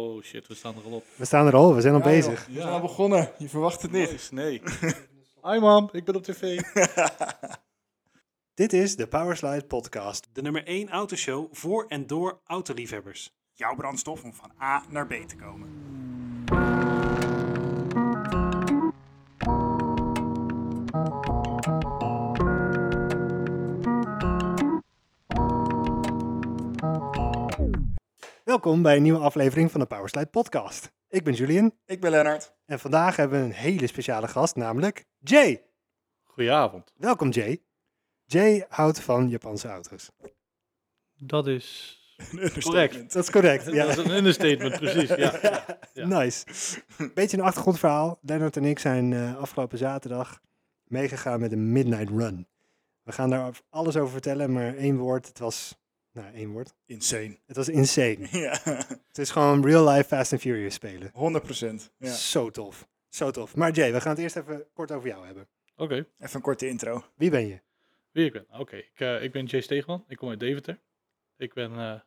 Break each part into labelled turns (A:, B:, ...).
A: oh shit, we staan er al op.
B: We staan er al, we zijn al
C: Ja, joh,
B: bezig.
C: We zijn al begonnen. Je verwacht het niet.
A: Nice, nee. Hi mom, ik ben op tv.
B: Dit is de Powerslide podcast.
D: De nummer 1 autoshow voor en door autoliefhebbers.
C: Jouw brandstof om van A naar B te komen.
B: Welkom bij een nieuwe aflevering van de Powerslide podcast. Ik ben Julian
C: Ik ben Lennart.
B: en vandaag hebben we een hele speciale gast, namelijk Jay.
A: Goedenavond.
B: Welkom Jay. Jay houdt van Japanse auto's.
A: Dat is...
C: Een understatement.
B: Dat is correct. Ja.
A: Dat is een understatement, precies. Ja, ja. Ja.
B: Nice. Beetje een achtergrondverhaal. Lennart en ik zijn eh, afgelopen zaterdag meegegaan met een midnight run. We gaan daar alles over vertellen, maar één woord. Het was, nou één woord.
C: Insane.
B: Het was insane.
C: Ja,
B: Het is gewoon real life Fast and Furious spelen.
C: 100%. Ja.
B: Zo tof. Zo tof. Maar Jay, we gaan het eerst even kort over jou hebben.
A: Oké,
C: Even een korte intro.
B: Wie ben je?
A: wie ik ben. Oké, ik, eh, ik ben Jay Steegman. Ik kom uit Deventer. Ik ben eh,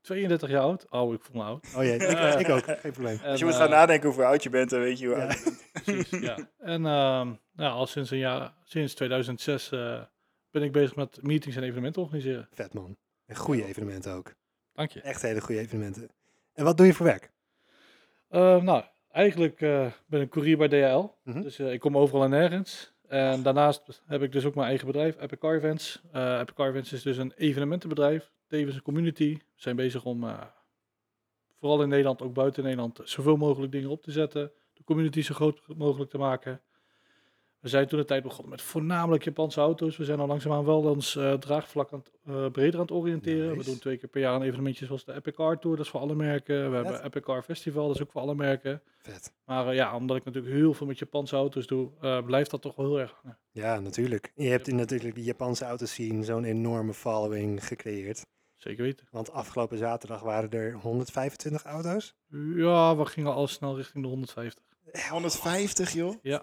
A: 32 jaar oud. Oh, ik voel me oud.
B: Oh jee, ik, ik ook. Geen probleem.
A: En,
C: Als je moet
A: eh,
C: gaan nadenken hoe oud je bent, dan weet je hoe oud je bent.
A: Precies, ja. En ehm, nou, al sinds, een jaar, sinds 2006 eh, ben ik bezig met meetings en evenementen organiseren.
B: Vet man. En goede evenementen ook.
A: Dank je.
B: Echt hele goede evenementen. En wat doe je voor werk?
A: Eh, nou, eigenlijk eh, ben ik courier bij DHL.
B: Mhm.
A: Dus eh, ik kom overal en nergens. En daarnaast heb ik dus ook mijn eigen bedrijf, Epic Car Events. Eh, Epic Car Events is dus een evenementenbedrijf, tevens een community. We zijn bezig om, eh, vooral in Nederland, ook buiten Nederland, zoveel mogelijk dingen op te zetten. De community zo groot mogelijk te maken. We zijn toen de tijd begonnen met voornamelijk Japanse auto's. We zijn al langzaamaan wel ons eh, draagvlak aan het, eh, breder aan het oriënteren. We
B: Nice.
A: doen twee keer per jaar een evenementje zoals de Epic Car Tour, dat is voor alle merken. We hebben Epic Car Festival, dat is ook voor alle merken.
B: Vet.
A: Maar eh, ja, omdat ik natuurlijk heel veel met Japanse auto's doe, eh, blijft dat toch wel heel erg eh, hangen.
B: Ja, natuurlijk. Je hebt in natuurlijk de Japanse auto's zien zo'n enorme following gecreëerd.
A: Zeker weten.
B: Want afgelopen zaterdag waren er 125 auto's.
A: Ja, we gingen al snel richting de 150.
C: 150, Eh, joh.
A: Ja.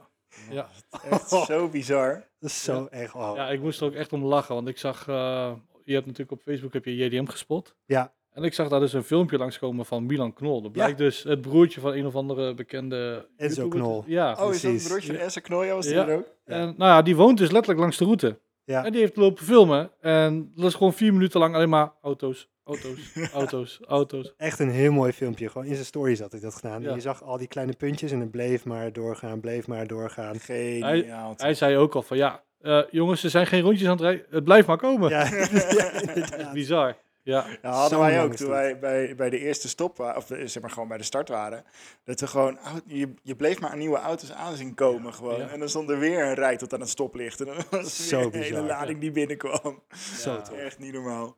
A: Ja.
C: Echt zo bizar.
B: Dat is zo erg. Oh.
A: ja, ik moest er ook echt om lachen, want ik zag, eh, je hebt natuurlijk op Facebook heb je JDM gespot.
B: Ja.
A: En ik zag daar dus een filmpje langskomen van Milan Knol. Dat blijkt dus het broertje van een of andere bekende...
B: Enzo
A: YouTuber te-
B: Knol.
A: Ja.
C: Oh, is dat het
B: precies.
C: broodje van Essa Knooi? Was die
A: Ja.
C: er ook?
A: En nou ja, die woont dus letterlijk langs de route.
B: Ja.
A: En die heeft lopen filmen. En dat is gewoon vier minuten lang alleen maar auto's, auto's, auto's, auto's.
B: Echt een heel mooi filmpje. Gewoon in zijn stories had ik dat gedaan. En
A: Ja.
B: Je zag al die kleine puntjes en het bleef maar doorgaan, bleef maar doorgaan.
C: Geniaal.
A: Hij zei ook al van ja, eh, jongens, er zijn geen rondjes aan het rijden. Het blijft maar komen.
B: Ja, ja, inderdaad.
A: Bizar. Ja,
C: Ja, hadden
B: Zo
C: wij
B: lang
C: ook
B: is
C: toen
B: dat.
C: wij bij, bij de eerste stop, wa- of eh, zeg maar gewoon bij de start waren, dat we gewoon, au- je, je bleef maar aan nieuwe auto's aan zien komen gewoon.
A: ja.
C: En dan stond er weer een rij tot aan het stoplicht. En dan was er
B: Zo
C: weer een
B: bizar,
C: hele lading die binnenkwam.
B: Zo tof.
C: Echt niet normaal.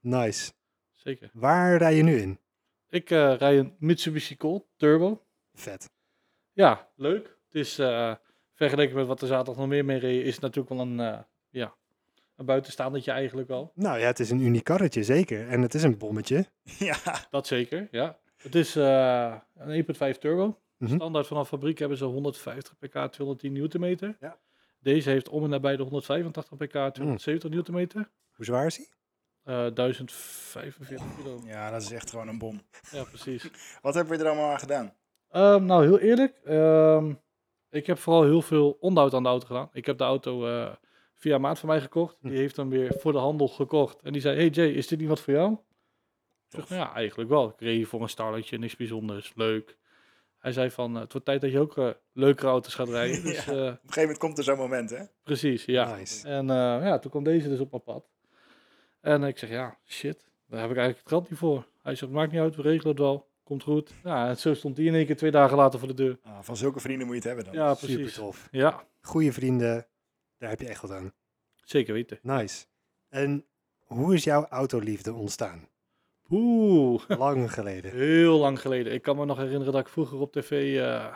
B: Nice.
A: zeker.
B: Waar rij je nu in?
A: Ik eh rij een Mitsubishi Colt Turbo.
B: Vet.
A: Ja, leuk. Het is eh, vergeleken met wat er zaterdag nog meer mee reed, is het natuurlijk wel een, eh ja, een buitenstaandertje eigenlijk al.
B: Nou ja, het is een uniek karretje, zeker. En het is een bommetje.
C: Ja,
A: Dat zeker, ja. Het is eh, een 1.5 turbo.
B: Mhm.
A: Standaard vanaf fabriek hebben ze 150 pk, 210 newtonmeter.
B: Ja.
A: Deze heeft om en nabij de 185 pk, 270 newtonmeter.
B: Hoe zwaar is hij?
A: Eh 1045 kilo.
C: ja, dat is echt gewoon een bom.
A: Ja, precies.
C: Wat hebben we er allemaal aan gedaan?
A: Ehm, nou, heel eerlijk. ehm, ik heb vooral heel veel onderhoud aan de auto gedaan. Ik heb de auto eh, via een maat van mij gekocht. Die heeft hem weer voor de handel gekocht. En die zei, hey Jay, is dit niet wat voor jou? Ik zeg, "Nou ja, eigenlijk wel. Ik reed hier voor een starletje, niks bijzonders, leuk. Hij zei van, het wordt tijd dat je ook eh, leukere auto's gaat rijden. Dus,
C: Ja.
A: eh,
C: Op een gegeven moment komt er zo'n moment, hè?
A: precies, ja.
B: Nice.
A: En eh, ja, toen kwam deze dus op mijn pad. En ik zeg, ja, shit, daar heb ik eigenlijk het geld niet voor. Hij zegt, maakt niet uit, we regelen het wel. Komt goed. Ja, en zo stond die in één keer twee dagen later voor de deur.
C: Ah, van zulke vrienden moet je het hebben dan.
A: Ja,
B: Super
A: precies.
B: tof.
A: Ja,
B: Goeie vrienden, daar heb je echt wat aan.
A: zeker weten.
B: Nice. En hoe is jouw autoliefde ontstaan?
A: Oeh,
B: Lang geleden.
A: heel lang geleden. Ik kan me nog herinneren dat ik vroeger op tv, eh,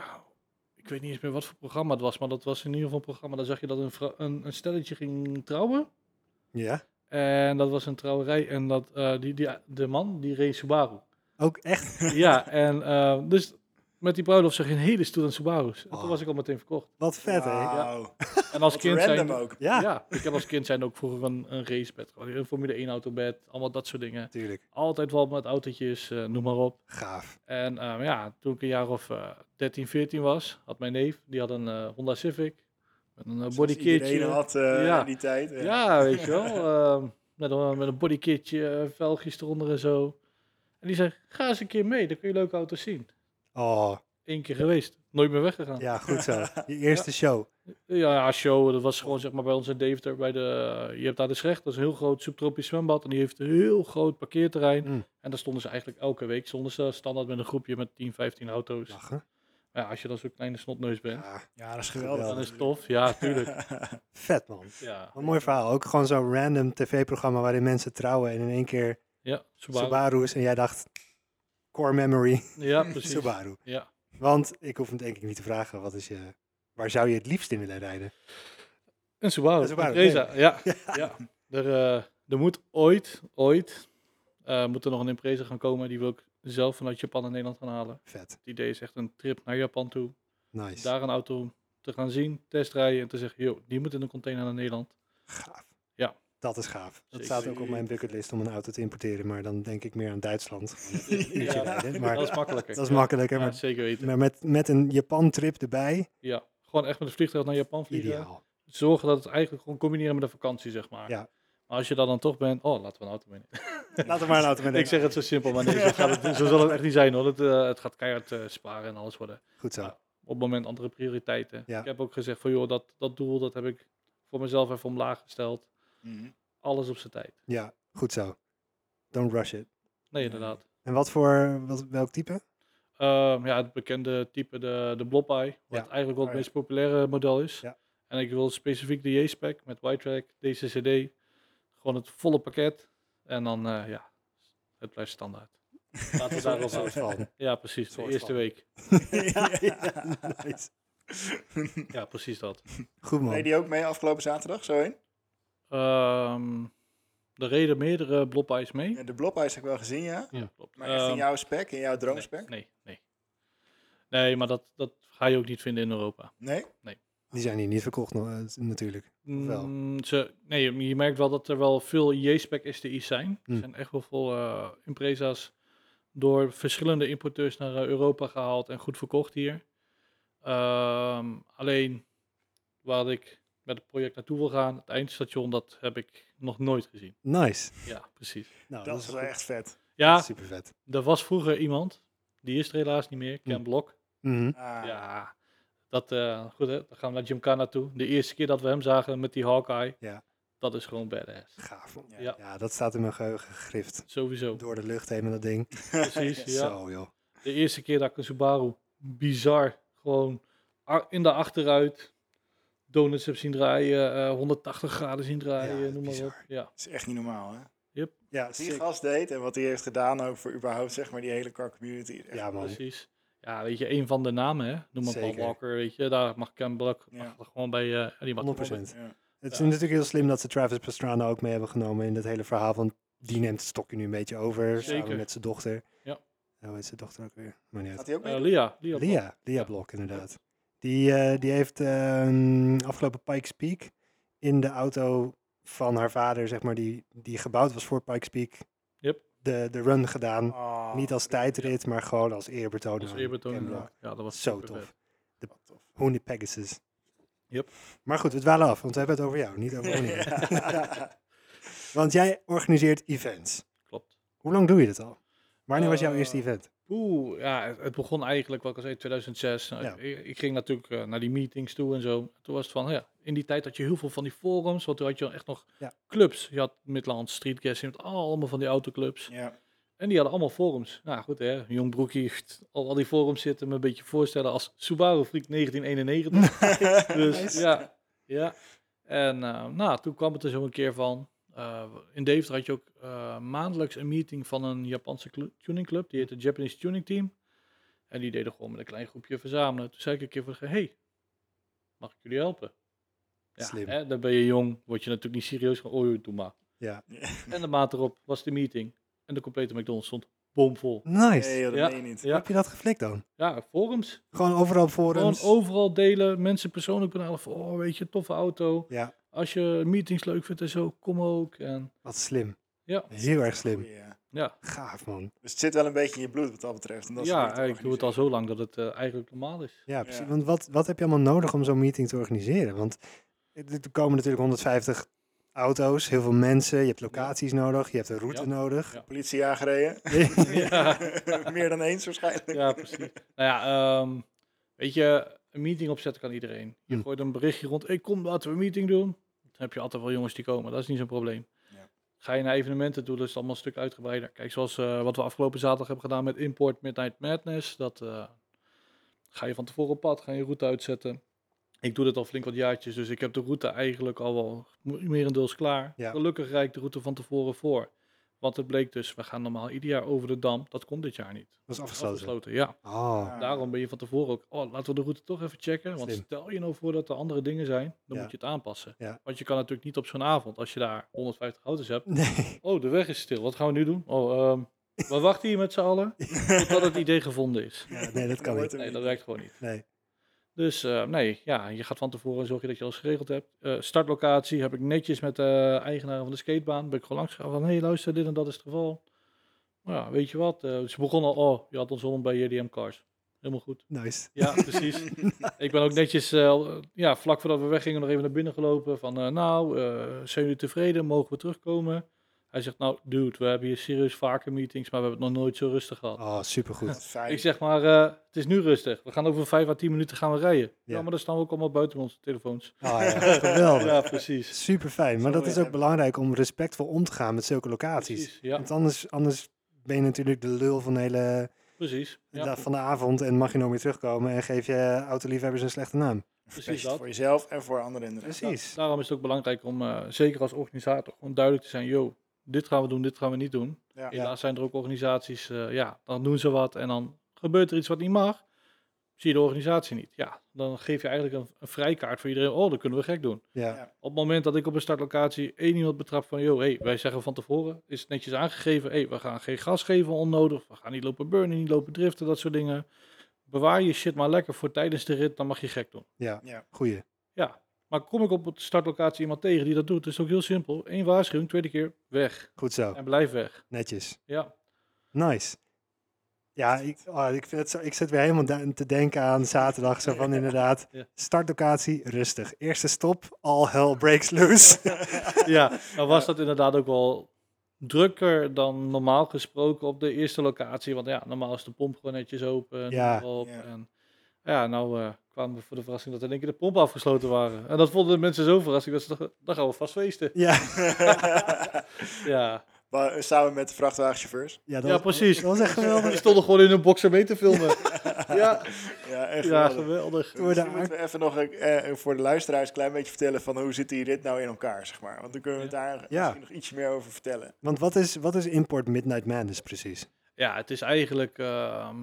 A: ik weet niet eens meer wat voor programma het was, maar dat was in ieder geval een programma. Daar zag je dat een, vrou- een, een stelletje ging trouwen.
B: Ja?
A: En dat was een trouwerij en dat, eh, die, die, de man die reed Subaru.
B: Ook echt?
A: ja, en eh, dus met die bruiloft zag je een hele stoel aan Subaru's. En
B: Oh.
A: toen was ik al meteen verkocht.
B: Wat vet, hè?
C: Wauw.
A: En als
C: Wat
A: kind
C: random
A: zijn...
C: ook.
B: Ja,
A: Ja, ik heb als kind zijn ook vroeger een, een racebed, gewoon een Formule 1 autobed, allemaal dat soort dingen.
B: natuurlijk.
A: Altijd wel met autootjes, eh, noem maar op.
B: Gaaf.
A: En ehm, ja, toen ik een jaar of eh 13, 14 was, had mijn neef, die had een eh, Honda Civic. Met een
C: Zoals
A: eh,
C: Iedereen
A: bodykitje.
C: had eh,
A: Ja.
C: in die tijd. eh.
A: Ja, weet je wel. ehm, met, een, met een bodykitje, eh, velgjes eronder en zo. En die zei, ga eens een keer mee, dan kun je leuke auto's zien.
B: Oh,
A: Eén keer geweest, nooit meer weggegaan. Ja,
B: ja, goed zo. Je eerste show.
A: ja, show, dat was gewoon zeg maar bij ons in Deventer. Bij de, eh, je hebt daar de Schrecht, dat is een heel groot subtropisch zwembad. En die heeft een heel groot parkeerterrein.
B: Mm.
A: En daar stonden ze eigenlijk elke week. Stonden ze standaard met een groepje met 10, 15 auto's. Ja,
B: Lachen. Ah,
A: als je dan zo'n kleine snotneus bent,
B: Ja,
C: Ja, dat is geweldig.
A: dan is het tof. Ja, tuurlijk.
B: vet, man.
A: Ja,
B: Wat een mooi verhaal. Ook gewoon zo'n random tv-programma waarin mensen trouwen en in één keer
A: ja, Subaru.
B: Subaru's. En jij dacht, core memory,
A: Ja, precies.
B: Subaru.
A: Ja.
B: Want ik hoef het denk ik niet te vragen, wat is je, waar zou je het liefst in willen rijden?
A: Een Subaru.
B: Een
A: Een
B: Subaru,
A: Impreza, ja. ja. Er, eh, er moet ooit, ooit, eh, moet er nog een Impreza gaan komen. Die wil ik zelf vanuit Japan en Nederland gaan halen.
B: Vet.
A: Het idee is echt een trip naar Japan toe.
B: Nice.
A: Daar een auto te gaan zien, testrijden en te zeggen, joh, die moet in een container naar Nederland.
B: Gaaf.
A: Ja.
B: Dat is gaaf. Dat
A: Zeker.
B: staat ook op mijn bucketlist om een auto te importeren, maar dan denk ik meer aan Duitsland.
A: Ja,
B: Uurtje rijden, maar
A: dat is makkelijker.
B: dat is makkelijker.
A: Ja,
B: Maar,
A: zeker weten.
B: maar met, met een Japan-trip erbij,
A: Ja. Gewoon echt met het vliegtuig naar Japan vliegen.
B: ideaal.
A: Zorgen dat het eigenlijk gewoon combineren met een vakantie, zeg maar.
B: Ja.
A: Maar als je daar dan toch bent, oh, laten we een auto meenemen.
B: Laten we maar een auto meenemen.
A: Ik zeg het zo simpel, maar nee, zo, gaat het, zo zal het echt niet zijn hoor. Het, eh, het gaat keihard eh, sparen en alles worden.
B: Goed zo.
A: op het moment andere prioriteiten.
B: Ja.
A: Ik heb ook gezegd van joh, dat, dat doel dat heb ik voor mezelf even omlaag gesteld.
C: Mhm.
A: Alles op zijn tijd.
B: Ja, goed zo. Don't rush it.
A: Nee, inderdaad.
B: En wat voor, wat, welk type?
A: Ehm, ja, het bekende type, de, de Blob Eye, wat
B: Ja.
A: eigenlijk wel
C: Oh,
A: het
C: ja.
A: meest populaire model is.
B: Ja.
A: En ik wil specifiek de J-spec met Y-track, DCCD. Gewoon het volle pakket. En dan, eh, ja, het blijft standaard. Laten we daarop
B: Soort
A: houden.
B: van.
A: Ja, precies. De
B: Soort
A: eerste
B: van.
A: week.
B: ja, ja, nice.
A: Ja, precies dat.
B: Goed man.
C: Reed die ook mee afgelopen zaterdag, zo heen?
A: Ehm er reden meerdere Blob Eyes mee.
C: Ja, De blobhuis heb ik wel gezien, ja.
A: Ja, klopt.
C: Maar echt in
A: Ehm,
C: jouw spek, in jouw
A: Nee,
C: droomspek?
A: Nee, nee. Nee, maar dat, dat ga je ook niet vinden in Europa.
C: Nee?
B: Die zijn hier niet verkocht nog, eh, natuurlijk. wel?
A: Mm, ze, nee, je- je merkt wel dat er wel veel J-spec STI's zijn.
B: Hm.
A: Er zijn echt wel veel eh Impreza's door verschillende importeurs naar eh, Europa gehaald en goed verkocht hier. Ehm, alleen waar ik met het project naartoe wil gaan, het eindstation, dat heb ik nog nooit gezien.
B: Nice.
A: Ja, precies.
B: Nou,
C: dat is wel
B: goed.
C: echt vet.
A: Ja,
B: super vet.
A: er was vroeger iemand, die is er helaas niet meer, Ken
B: Hm.
A: Blok.
B: Mhm.
C: Ah,
A: Ja, dat, eh, goed hè, dan gaan we naar Gymkhana toe. De eerste keer dat we hem zagen met die Hawkeye,
B: Ja.
A: dat is gewoon badass.
B: Gaaf. man.
C: Ja.
A: Ja,
B: Ja, dat staat in mijn geheugen gegrift.
A: sowieso.
B: Door de lucht heen met dat ding.
A: Precies, ja.
B: Zo joh.
A: De eerste keer dat ik een Subaru bizar gewoon a- in de achteruit donuts heb zien draaien, eh, 180 graden zien draaien,
B: Ja,
A: noem maar
B: bizar.
A: op. Ja,
C: Dat is echt niet normaal, hè?
B: Ja,
C: Wat die
B: sick.
C: gast deed en wat hij heeft gedaan ook voor überhaupt, zeg maar, die hele car community. Echt-
B: ja man.
A: precies. Ja, weet je, een van de namen, hè? noem maar Paul
B: Zeker.
A: Walker, weet je, daar mag Ken Block
C: Ja.
A: mag gewoon bij eh die mag er
B: 100
A: gewoon bij.
C: Ja.
B: Het is natuurlijk heel slim dat ze Travis Pastrana ook mee hebben genomen in dat hele verhaal. Want die neemt het stokje nu een beetje over. Samen
A: Zeker.
B: met zijn dochter.
A: Ja.
B: En Hoe heet zijn dochter ook weer? Maar niet uit.
C: Gaat hij ook mee?
A: Eh, Lia, Lia, Blok.
B: Lia, Lia Blok inderdaad. Die, eh, die heeft ehm, afgelopen Pikes Peak in de auto van haar vader, zeg maar, die, die gebouwd was voor Pikes Peak,
A: Yep.
B: de, de run gedaan.
C: Oh,
B: Niet als tijdrit, maar gewoon als eerbetoon.
A: Dat is
B: aan
A: Ah, eerbetoon.
B: Ken
A: inderdaad.
B: Block.
A: Ja, dat was
B: Zo
A: super
B: tof.
A: vet.
B: De
C: wat tof.
B: Honey Pegasus.
A: Yep.
B: Maar goed, we dwalen af, want we hebben het over jou, niet over Honey.
C: Ja.
B: Want jij organiseert events.
A: Klopt.
B: Hoe lang doe je dit al? Wanneer was jouw
A: Eh,
B: eerste event?
A: Oeh, ja, het- het begon eigenlijk, wat ik al zei, 2006. Nou,
B: Ja.
A: ik, ik ging natuurlijk eh, naar die meetings toe en zo. Toen was het van, ja, in die tijd had je heel veel van die forums, want toen had je echt nog
B: Ja.
A: clubs. Je had Midland Street Gas, je had allemaal van die autoclubs.
C: Ja.
A: En die hadden allemaal forums. Nou goed, hè, jong broekie, al, al die forums zitten, me een beetje voorstellen als Subaru Freak 1991. dus ja, ja. En eh, nou, toen kwam het er zo een keer van. Eh, in Deventer had je ook eh, maandelijks een meeting van een Japanse clu- tuning club. Die heette Japanese Tuning Team. En die deden gewoon met een klein groepje verzamelen. Toen zei ik een keer van, hey, mag ik jullie helpen? Ja,
B: Slim.
A: Hè, dan ben je jong, word je natuurlijk niet serieus van, oh, joh, doe maar.
B: Ja.
A: En de maand erop was de meeting. En de complete McDonald's stond bomvol.
B: Nice.
C: Nee, joh, dat
A: eh, Ja,
C: meen je niet.
A: Ja,
B: Heb je dat geflikt dan?
A: ja, forums.
B: Gewoon overal op
A: Gewoon
B: forums?
A: overal delen, mensen persoonlijk benaderen van, oh weet je, toffe auto.
B: ja,
A: Als je meetings leuk vindt en zo, kom ook. En
B: wat slim.
A: Ja.
B: Heel erg slim.
C: Goeie, ja.
A: ja,
B: Gaaf, man.
C: Dus het zit wel een beetje in je bloed wat dat betreft. om dat soort dingen
A: ja
C: te
A: ik doe het al zo lang dat het eh, eigenlijk normaal is.
B: Ja, precies.
C: Ja.
B: Want wat, wat heb je allemaal nodig om zo'n meeting te organiseren? Want er er komen natuurlijk 150 auto's, heel veel mensen. Je hebt locaties nodig, je hebt een route
A: Ja.
B: nodig.
A: Ja.
C: Politie aangereden.
A: ja,
C: Meer dan eens waarschijnlijk.
A: ja, precies. Nou ja, ehm, weet je, een meeting opzetten kan iedereen. Je
B: Hm.
A: gooit een berichtje rond, ik kom, laten we een meeting doen. Dan heb je altijd wel jongens die komen, dat is niet zo'n probleem.
C: Ja.
A: Ga je naar evenementen toe, dat is het allemaal een stuk uitgebreider. Kijk, zoals eh, wat we afgelopen zaterdag hebben gedaan met Import Midnight Madness. Dat eh, ga je van tevoren op pad, ga je route uitzetten. Ik doe dit al flink wat jaartjes, dus ik heb de route eigenlijk al wel m- merendeels klaar.
B: Ja.
A: Gelukkig rijd ik de route van tevoren voor. Want het bleek dus, we gaan normaal ieder jaar over de dam. Dat komt dit jaar niet.
B: Dat is afgesloten.
A: Afgesloten, ja.
B: Oh,
C: Ja.
A: Daarom ben je van tevoren ook, oh, laten we de route toch even checken. Want
B: Slim.
A: stel je nou voor dat er andere dingen zijn, dan
B: Ja.
A: moet je het aanpassen.
B: Ja.
A: Want je kan natuurlijk niet op zo'n avond, als je daar 150 auto's hebt.
B: nee.
A: Oh, de weg is stil, wat gaan we nu doen? Oh, ehm, we wachten hier met z'n allen totdat het idee gevonden is.
B: Ja, nee, dat kan
C: wordt
B: niet.
C: hem
A: Nee, dat
C: niet.
A: werkt gewoon niet.
B: Nee.
A: Dus eh, nee, ja, je gaat van tevoren zorg je dat je alles geregeld hebt. Eh, startlocatie heb ik netjes met de eigenaar van de skatebaan. Ben ik gewoon langs gegaan van, hé hey, luister, dit en dat is het geval. Nou, ja, weet je wat? eh, ze begonnen al, oh, je had ons om bij JDM Cars. Helemaal goed.
B: Nice.
A: Ja, precies. ik ben ook netjes, eh, ja, vlak voordat we weggingen, nog even naar binnen gelopen. Van, eh, nou, eh, zijn jullie tevreden? Mogen we terugkomen? Hij zegt, nou, dude, we hebben hier serieus vaker meetings, maar we hebben het nog nooit zo rustig gehad.
B: Oh, supergoed.
C: Dat is fijn.
A: Ik zeg maar, eh, het is nu rustig. We gaan over vijf à tien minuten gaan we rijden. Ja,
B: Ja.
A: maar dan staan we ook allemaal buiten met onze telefoons.
B: Oh, ja, geweldig.
A: Ja, precies.
B: Super fijn. Maar
C: Zo
B: dat is
C: wil
B: ook
C: je
B: belangrijk om respectvol om te gaan met zulke locaties.
A: precies. Ja,
B: Want anders, anders ben je natuurlijk de lul van de hele
A: precies. Ja,
B: dag van de avond en mag je nooit meer terugkomen en geef je autoliefhebbers een slechte naam.
A: precies
C: Best
A: dat.
C: Voor jezelf en voor anderen inderdaad.
B: Precies.
A: Daarom is het ook belangrijk om, eh, zeker als organisator, gewoon duidelijk te zijn, yo, dit gaan we doen, dit gaan we niet doen.
C: Ja.
A: Helaas zijn er ook organisaties, eh, ja, dan doen ze wat en dan gebeurt er iets wat niet mag. Zie je de organisatie niet. Ja, dan geef je eigenlijk een, een vrijkaart voor iedereen. Oh, dat kunnen we gek doen.
B: Ja,
A: Op het moment dat ik op een startlocatie één iemand betrap van... joh, hey, wij zeggen van tevoren, is het netjes aangegeven... hey, we gaan geen gas geven onnodig, we gaan niet lopen burnen, niet lopen driften, dat soort dingen. Bewaar je shit maar lekker voor tijdens de rit, dan mag je gek doen.
B: ja.
C: Ja.
B: goeie.
A: Ja, maar kom ik op de startlocatie iemand tegen die dat doet... is het ook heel simpel. Eén waarschuwing, tweede keer, weg.
B: Goed zo.
A: En blijf weg.
B: Netjes.
A: Ja,
B: Nice. Ja, ik, oh, ik, vind het zo, ik zit weer helemaal da- te denken aan zaterdag. Zo van inderdaad,
A: Ja.
B: startlocatie, rustig. Eerste stop, all hell breaks loose.
A: ja, dan was dat inderdaad ook wel drukker dan normaal gesproken op de eerste locatie. Want ja, normaal is de pomp gewoon netjes open. noem
B: Ja.
A: maar op.
C: Ja.
A: En, ja, nou eh, kwamen we voor de verrassing dat in één keer de pompen afgesloten waren. En dat vonden de mensen zo verrassing dat ze dachten, dan gaan we vast feesten.
B: ja,
A: Ja,
C: Maar, eh, Samen met de vrachtwagenchauffeurs.
B: ja, dat
A: ja
B: was-
A: precies.
B: Dat was echt geweldig.
A: Die stonden gewoon in hun boxer mee te filmen. ja,
C: Ja, echt
A: ja, geweldig.
C: geweldig. Dus
B: Door de
C: Misschien moeten we even nog eh, eh, voor de luisteraars een klein beetje vertellen van hoe zit die rit nou in elkaar, zeg maar. Want dan kunnen we daar
B: Ja.
C: misschien nog ietsje meer over vertellen.
B: Want wat is, wat is import Midnight Madness precies?
A: Ja, het is eigenlijk. ehm,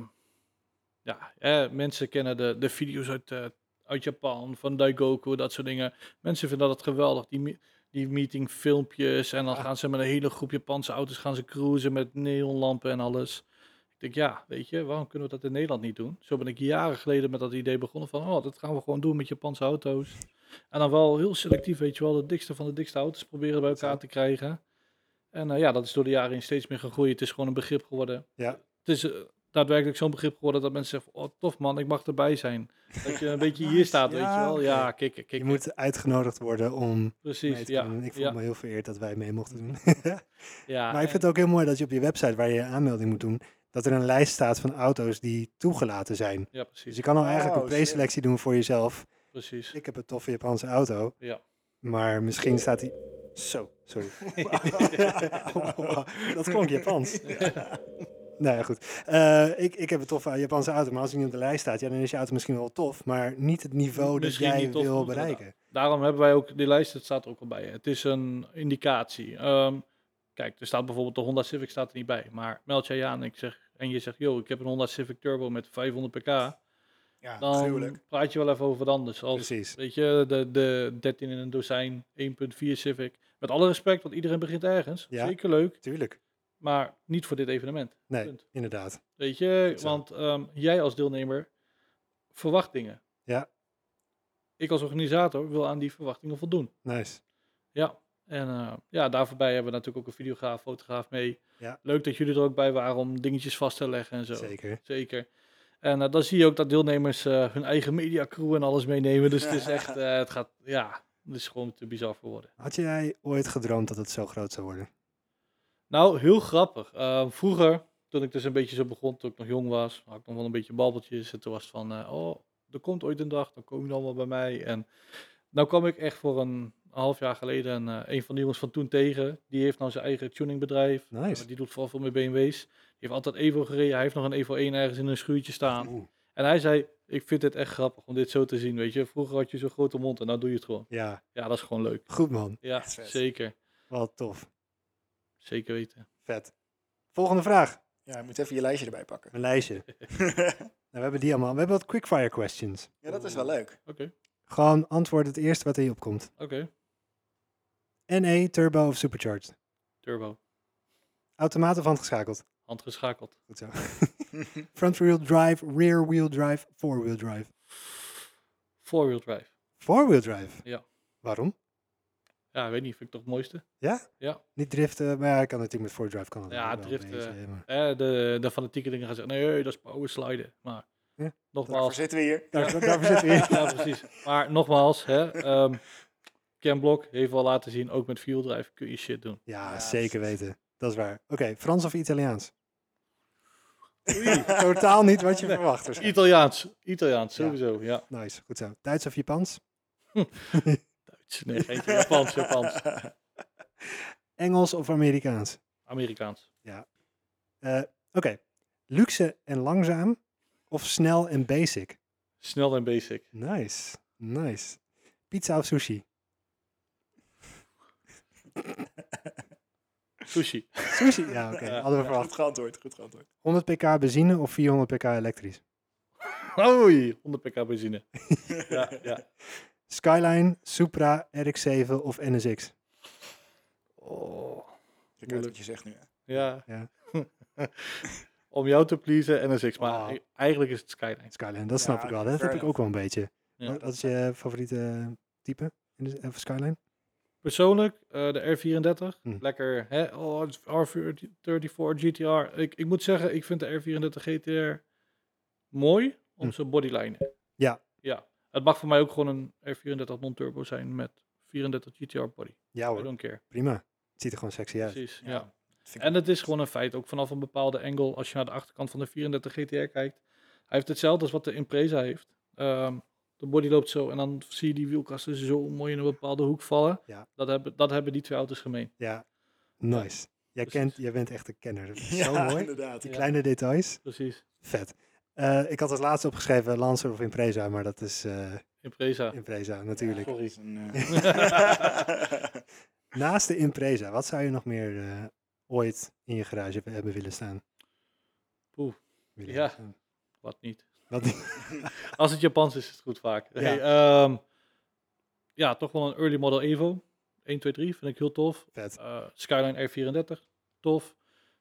A: ja, hè, mensen kennen de, de video's uit, eh, uit Japan, van Daigoku, dat soort dingen. Mensen vinden dat geweldig. Die, me- die meeting filmpjes. En dan gaan ze met een hele groep Japanse auto's gaan ze cruisen met neonlampen en alles. Ik denk, ja, weet je, waarom kunnen we dat in Nederland niet doen? Zo ben ik jaren geleden met dat idee begonnen van, oh, dat gaan we gewoon doen met Japanse auto's. En dan wel heel selectief, weet je wel, de dikste van de dikste auto's proberen bij elkaar te krijgen. En eh, ja, dat is door de jaren heen steeds meer gegroeid. Het is gewoon een begrip geworden.
B: Ja.
A: Het is eh, daadwerkelijk zo'n begrip geworden dat mensen zeggen, oh, tof man, ik mag erbij zijn. Dat je een beetje hier staat, weet
B: Ja,
A: je wel.
B: oké.
A: Ja, kikken,
B: Je
A: kikken.
B: moet uitgenodigd worden om mee
A: Precies,
B: te
A: ja.
B: doen. Ik voel
A: ja,
B: me heel vereerd dat wij mee mochten doen.
A: ja,
B: maar ik vind het ook heel mooi dat je op je website waar je je aanmelding moet doen, dat er een lijst staat van auto's die toegelaten zijn.
A: ja,
B: Dus
A: precies,
B: je kan al
C: Oh,
B: eigenlijk een
C: slim.
B: preselectie doen voor jezelf.
A: precies.
B: Ik heb een toffe Japanse auto,
A: Ja.
B: maar misschien staat die... Zo, sorry. dat klonk Japans. Nou ja, goed. Eh, ik, ik heb een toffe Japanse auto, maar als die niet op de lijst staat, ja, dan is je auto misschien wel tof, maar niet het niveau
A: Misschien
B: dat jij
A: niet tof
B: wil
A: genoeg,
B: bereiken.
A: Daarom hebben wij ook die lijst, dat staat er ook al bij. Het is een indicatie. Ehm, kijk, er staat bijvoorbeeld de Honda Civic staat er niet bij. Maar meld jij je aan en, ik zeg, en je zegt, yo, ik heb een Honda Civic Turbo met 500 pk.
C: Ja,
A: Dan
C: gruwelijk.
A: praat je wel even over wat anders. Als,
B: Precies.
A: Weet je, de, de 13 in een dozijn, 1.4 Civic. Met alle respect, want iedereen begint ergens.
B: Ja.
A: Zeker leuk.
B: Tuurlijk.
A: Maar niet voor dit evenement.
B: Nee,
A: Punt.
B: inderdaad.
A: Weet je,
B: Zo.
A: want ehm, jij als deelnemer verwacht dingen.
B: Ja.
A: Ik als organisator wil aan die verwachtingen voldoen.
B: Nice.
A: Ja. En eh, ja, daarvoorbij hebben we natuurlijk ook een videograaf, fotograaf mee.
B: Ja.
A: Leuk dat jullie er ook bij waren om dingetjes vast te leggen en zo.
B: Zeker.
A: Zeker. En eh, dan zie je ook dat deelnemers eh, hun eigen mediacrew en alles meenemen. Dus het is echt, eh, het gaat, ja, het is gewoon te bizar voor woorden.
B: Had jij ooit gedroomd dat het zo groot zou worden?
A: Nou, heel grappig. Eh, vroeger, toen ik dus een beetje zo begon, toen ik nog jong was, had ik nog wel een beetje babbeltjes. En toen was het van, eh, oh, er komt ooit een dag, dan kom je allemaal bij mij. En nou kwam ik echt voor een half jaar geleden een, eh, een van de jongens van toen tegen. Die heeft nou zijn eigen tuningbedrijf.
B: Nice.
A: Eh, die doet vooral veel met BMW's. Die heeft altijd Evo gereden. Hij heeft nog een Evo 1 ergens in een schuurtje staan.
B: Oeh.
A: En hij zei, ik vind het echt grappig om dit zo te zien, weet je. Vroeger had je zo'n grote mond en nou doe je het gewoon.
B: Ja,
A: Ja, dat is gewoon leuk.
B: goed man.
A: Ja,
C: Echt vet.
A: zeker.
B: Wel tof.
A: Zeker weten.
B: Vet. Volgende vraag.
C: Ja, je moet even je lijstje erbij pakken.
B: Mijn lijstje. nou, we hebben die allemaal. We hebben wat quickfire questions.
C: ja, dat is wel leuk.
A: Oké,
B: Gewoon antwoord het eerste wat in je opkomt.
A: oké.
B: NE, E, turbo of supercharged?
A: Turbo.
B: Automaat of handgeschakeld?
A: Handgeschakeld.
B: Goed zo. Front wheel drive, rear wheel drive, four wheel drive.
A: Four-wheel drive.
B: Four wheel drive?
A: Ja.
B: Waarom?
A: Ja, weet niet, vind ik toch het mooiste.
B: Ja?
A: Ja.
B: Niet driften, maar ja, ik kan natuurlijk met four drive kan dat
A: Ja,
B: wel een
A: driften.
B: beetje, maar-
A: Eh, de, de fanatieke dingen gaan zeggen, nee, dat is power sliden. Maar
B: Ja.
C: Daarvoor
A: nogmaals,
C: zitten we hier.
B: Daar, daarvoor zitten we hier.
A: ja, precies. Maar nogmaals, hè, ehm Ken Block heeft wel laten zien, ook met fuel drive kun je shit doen.
B: Ja,
C: Ja,
B: zeker
C: precies.
B: weten. Dat is waar. Oké, Frans of Italiaans?
A: Oei,
B: Totaal niet wat je verwacht. waarschijnlijk.
A: Italiaans. Italiaans, sowieso, ja.
B: Nice, goed zo. Duits of Japans?
A: Duits. Nee, geen Japans, Japans.
B: Engels of Amerikaans?
A: Amerikaans.
B: Eh, Oké, luxe en langzaam of snel en basic?
A: Snel en basic.
B: Nice, nice. Pizza of sushi?
A: Sushi.
B: Sushi, ja oké,
A: Ja,
B: hadden we verwacht.
C: Goed geantwoord, goed geantwoord.
B: 100 pk benzine of 400 pk elektrisch?
A: Oei, 100 pk benzine. Ja, ja.
B: Skyline, Supra, RX-7 of NSX?
A: Oh,
C: Ik weet wat je zegt nu. hè.
A: ja.
B: Ja.
A: Om jou te pleasen, NSX. Maar
B: Oh.
A: e- eigenlijk is het Skyline.
B: Skyline, dat snap
C: Ja,
B: ik wel. Dat
C: fair
B: heb ik ook wel een beetje.
A: Ja.
B: Wat wat is je favoriete type in de, van Skyline?
A: Persoonlijk, eh, de R34.
B: Hm.
A: Lekker, hè? Oh, het is R34 GTR. Ik, ik moet zeggen, ik vind de R34 GTR mooi om
B: Hm.
A: zijn bodyline.
B: Ja.
A: Ja. Het mag voor mij ook gewoon een R34 non-turbo zijn met 34 GTR body.
B: Ja
A: I
B: hoor,
A: don't care.
B: prima. Het ziet er gewoon sexy uit.
A: Precies,
C: Ja.
A: ja.
C: Vind ik
A: En het is gewoon een feit, ook vanaf een bepaalde angle, als je naar de achterkant van de 34 GTR kijkt. Hij heeft hetzelfde als wat de Impreza heeft. Ehm, de body loopt zo en dan zie je die wielkasten zo mooi in een bepaalde hoek vallen.
B: Ja.
A: Dat, hebben, dat hebben die twee auto's gemeen.
B: Ja, nice. Jij,
A: Precies.
B: kent, jij bent echt een kenner. Dat is
C: Ja,
B: zo mooi.
C: inderdaad.
B: Die
A: Ja.
B: kleine details.
A: Precies,
B: Vet. Eh, ik had als laatste opgeschreven Lancer of Impreza, maar dat is eh,
A: Impreza.
B: Impreza natuurlijk.
A: Ja. Sorry.
C: Dat is een, eh,
B: Naast de Impreza, wat zou je nog meer eh, ooit in je garage hebben- hebben willen staan?
A: Poeh,
B: Willen
A: ja.
B: hebben staan.
A: Wat niet.
B: Wat,
A: Als het Japans is, is het goed vaak.
B: Ja.
A: Ja, hey, ehm, ja toch wel een early model Evo. 1, 2, 3 vind ik heel tof.
B: vet.
A: Eh, Skyline R34, tof.